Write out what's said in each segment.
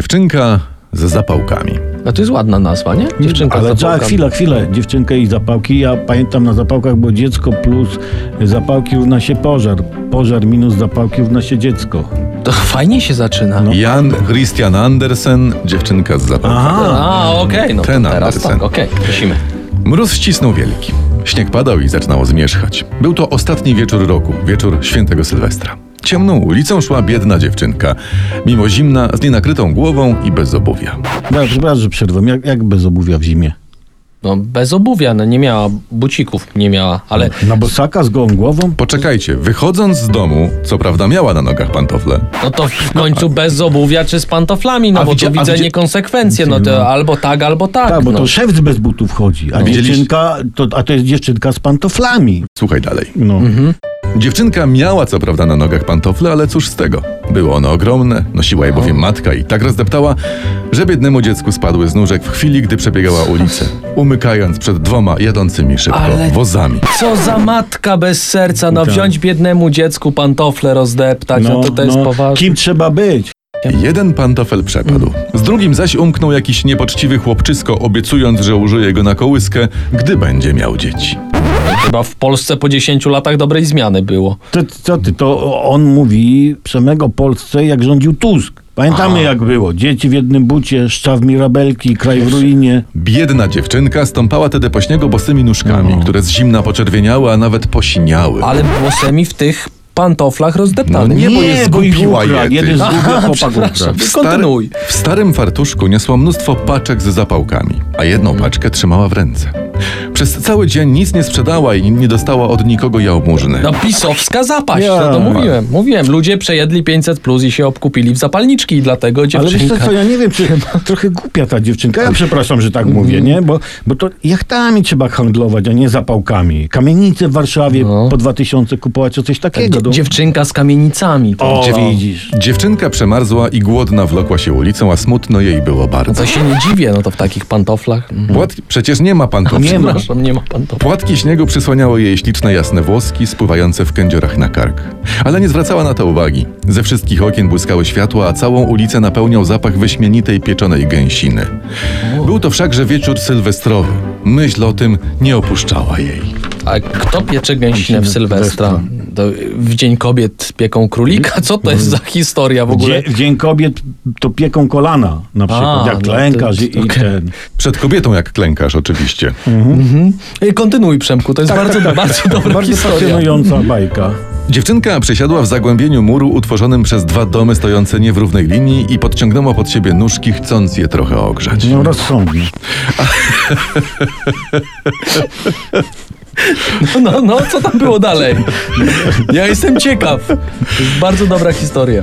Dziewczynka ze zapałkami. A to jest ładna nazwa, nie? Dziewczynka z Ale za zapałkami. chwila, chwila, dziewczynkę i zapałki. Ja pamiętam na zapałkach było dziecko plus zapałki równa się pożar. Pożar minus zapałki równa się dziecko. To fajnie się zaczyna. Jan Christian Andersen, dziewczynka z zapałkami. Aha, A, okej, no to Ten teraz Andersen. tak, okej, prosimy. Mróz ścisnął wielki. Śnieg padał i zaczynało zmierzchać. Był to ostatni wieczór roku, wieczór świętego Sylwestra. Ciemną ulicą szła biedna dziewczynka, mimo zimna, z nienakrytą głową i bez obuwia. da, przepraszam, że przerwę. Jak, jak bez obuwia w zimie? No, bez obuwia, no nie miała bucików, nie miała, ale Na bosaka z gołą głową? Tak, Poczekajcie, wychodząc z domu, co prawda miała na nogach pantofle, no to w końcu bez obuwia czy z pantoflami, no A bo widzia- tu a widzę widzi- niekonsekwencje, no to albo tak, albo tak. Tak, bo no. to szewc bez butów chodzi, a Widzieliście- dziewczynka, to, a to jest dziewczynka z pantoflami. Słuchaj dalej. No. Mhm. Dziewczynka miała co prawda na nogach pantofle, ale cóż z tego? Były one ogromne, nosiła je bowiem matka i tak rozdeptała, że biednemu dziecku spadły z nóżek w chwili, gdy przebiegała ulicę, umykając przed dwoma jadącymi szybko Ale- wozami. Co za matka bez serca, no wziąć biednemu dziecku pantofle rozdeptać, no, to to jest poważne. Kim trzeba być? Jeden pantofel przepadł. Z drugim zaś umknął jakiś niepoczciwy chłopczysko, obiecując, że użyje go na kołyskę, gdy będzie miał dzieci. Chyba w Polsce po 10 latach dobrej zmiany było. To, co ty, to on mówi samego Polsce, jak rządził Tusk. Pamiętamy A. jak było. Dzieci w jednym bucie, szczaw mirabelki, kraj w ruinie. Biedna dziewczynka stąpała tedy po śniegu bosymi nóżkami, które z zimna poczerwieniały, a nawet posiniały. Ale włosami w tych pantoflach rozdeptanych. No nie, bo je ich zgubiła ukradł. je, ty. Jeden z Aha, chłopaków przepraszam. ukradł. W Kontynuuj. w starym fartuszku niosła mnóstwo paczek z zapałkami, a jedną paczkę trzymała w ręce. Przez cały dzień nic nie sprzedała i nie dostała od nikogo jałmużny. No pisowska zapaść, Ja. no to mówiłem, mówiłem. Ludzie przejedli 500 plus i się obkupili w zapalniczki i dlatego Ale wiesz co, dziewczynka... co, ja nie wiem, czy trochę głupia ta dziewczynka. Ja przepraszam, że tak Mhm. mówię, nie? Bo, bo to jachtami trzeba handlować, a nie zapałkami. Kamienice w Warszawie No. po 2000 kupować, czy coś takiego. Dzie- No. Dziewczynka z kamienicami. To, O, Dziew- no. widzisz. Dziewczynka przemarzła i głodna wlokła się ulicą, a smutno jej było bardzo. to się nie dziwię, no to w takich pantoflach. Mm. Płat... Przecież nie ma pantofli. No Nie ma. Przepraszam, nie ma pantofli. Płatki śniegu przysłaniały jej śliczne jasne włoski spływające w kędziorach na kark. Ale nie zwracała na to uwagi. Ze wszystkich okien błyskały światła, a całą ulicę napełniał zapach wyśmienitej pieczonej gęsiny. Był to wszakże wieczór sylwestrowy. Myśl o tym nie opuszczała jej. A kto piecze gęsinę w Sylwestra? To w Dzień Kobiet pieką królika? Co to jest za historia w ogóle? Dzie- w Dzień Kobiet to pieką kolana na przykład, jak no klękasz to- i, i okej. ten. Przed kobietą jak klękasz oczywiście. Ej, Kontynuuj, Przemku, to jest bardzo, Tak, bardzo dobra Bardzo historia. fascynująca bajka. Dziewczynka przesiadła w zagłębieniu muru utworzonym przez dwa domy stojące nie w równej linii i podciągnęła pod siebie nóżki, chcąc je trochę ogrzać. No rozsądnie. No, no, co tam było dalej? Ja jestem ciekaw. To jest bardzo dobra historia.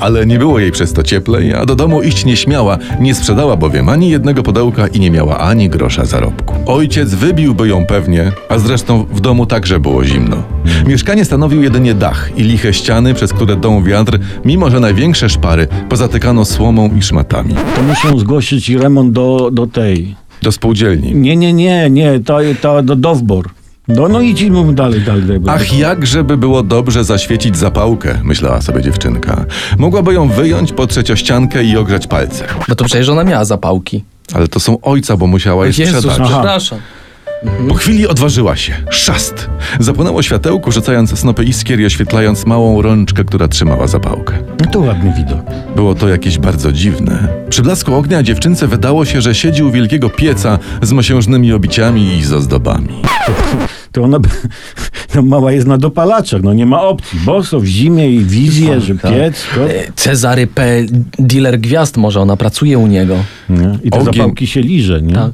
Ale nie było jej przez to cieplej, a do domu iść nie śmiała, nie sprzedała bowiem ani jednego pudełka i nie miała ani grosza zarobku. Ojciec wybiłby ją pewnie, a zresztą w domu także było zimno. Mieszkanie stanowił jedynie dach i liche ściany, przez które dął wiatr, mimo że największe szpary pozatykano słomą i szmatami. To muszą zgłosić remont do, do tej. Do spółdzielni. Nie, nie, nie, nie, ta, ta do Dowbor. No, no idźmy dalej, dalej. dalej. Ach, jak żeby było dobrze zaświecić zapałkę, myślała sobie dziewczynka. Mogłaby ją wyjąć pod trzeciościankę i ogrzać palce. No to przecież ona miała zapałki. Ale to są ojca, bo musiała je tak. Jezus, sprzedać. przepraszam. Po chwili odważyła się. Szast! Zapłonęło światełko, rzucając snopy iskier i oświetlając małą rączkę, która trzymała zapałkę. No to ładny widok. Było to jakieś bardzo dziwne. Przy blasku ognia dziewczynce wydało się, że siedzi u wielkiego pieca z mosiężnymi obiciami i z ozdobami. To ona by, no mała jest na dopalaczach, no nie ma opcji. Boso w zimie i wizję, że Tak. piec, to, E, Cezary P., dealer gwiazd, może ona pracuje u niego. nie? I te Ogień. zapałki się liże, nie? Tak.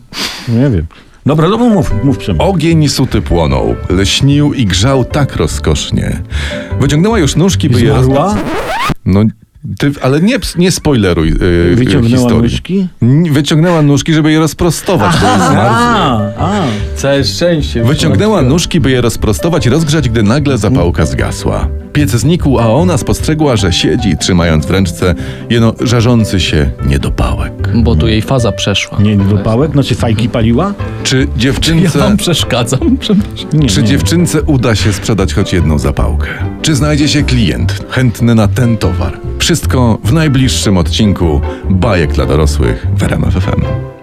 Nie wiem. Dobra, no mów, mów Przemek. Ogień suty płonął, leśnił i grzał tak rozkosznie. Wyciągnęła już nóżki, by je... Zmarła? No, ty, ale nie, nie spoileruj yy, Wyciągnęła historii. nóżki? N- Wyciągnęła nóżki, żeby je rozprostować, bo jest zmarzły. A, a. Całe szczęście. Wyciągnęła nóżki, by je rozprostować i rozgrzać, gdy nagle zapałka zgasła. Piec znikł, a ona spostrzegła, że siedzi, trzymając w ręczce jeno żarzący się niedopałek. Bo tu jej faza przeszła. Nie, do pałek? Znaczy fajki paliła? Czy Ja dziewczynce, wam przeszkadzam, przepraszam. Nie, czy nie. dziewczynce uda się sprzedać choć jedną zapałkę? Czy znajdzie się klient chętny na ten towar? Wszystko w najbliższym odcinku Bajek dla dorosłych w RMF FM.